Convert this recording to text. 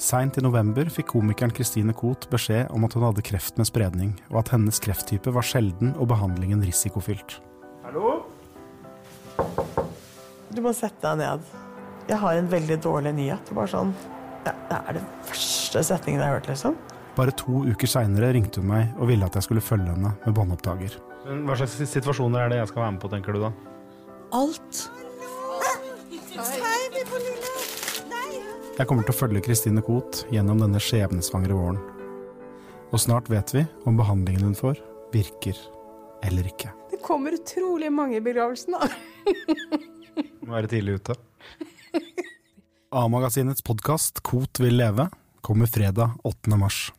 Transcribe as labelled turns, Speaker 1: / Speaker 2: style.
Speaker 1: Seint i november fikk komikeren Christine Koht beskjed om at hun hadde kreft med spredning, og at hennes krefttype var sjelden og behandlingen risikofylt.
Speaker 2: Du må sette deg ned. Jeg har en veldig dårlig nyhet. Bare sånn. Det det er den første setningen jeg har hørt, liksom.
Speaker 1: Bare to uker seinere ringte hun meg og ville at jeg skulle følge henne med båndopptaker.
Speaker 3: Men hva slags situasjoner er det jeg skal være med på, tenker du da?
Speaker 4: Alt.
Speaker 1: Jeg kommer til å følge Christine Koht gjennom denne skjebnesvangre våren. Og snart vet vi om behandlingen hun får, virker eller ikke.
Speaker 5: Det kommer utrolig mange i begravelsen, da.
Speaker 3: Må være tidlig ute.
Speaker 1: A-magasinets podkast Kot vil leve kommer fredag 8. mars.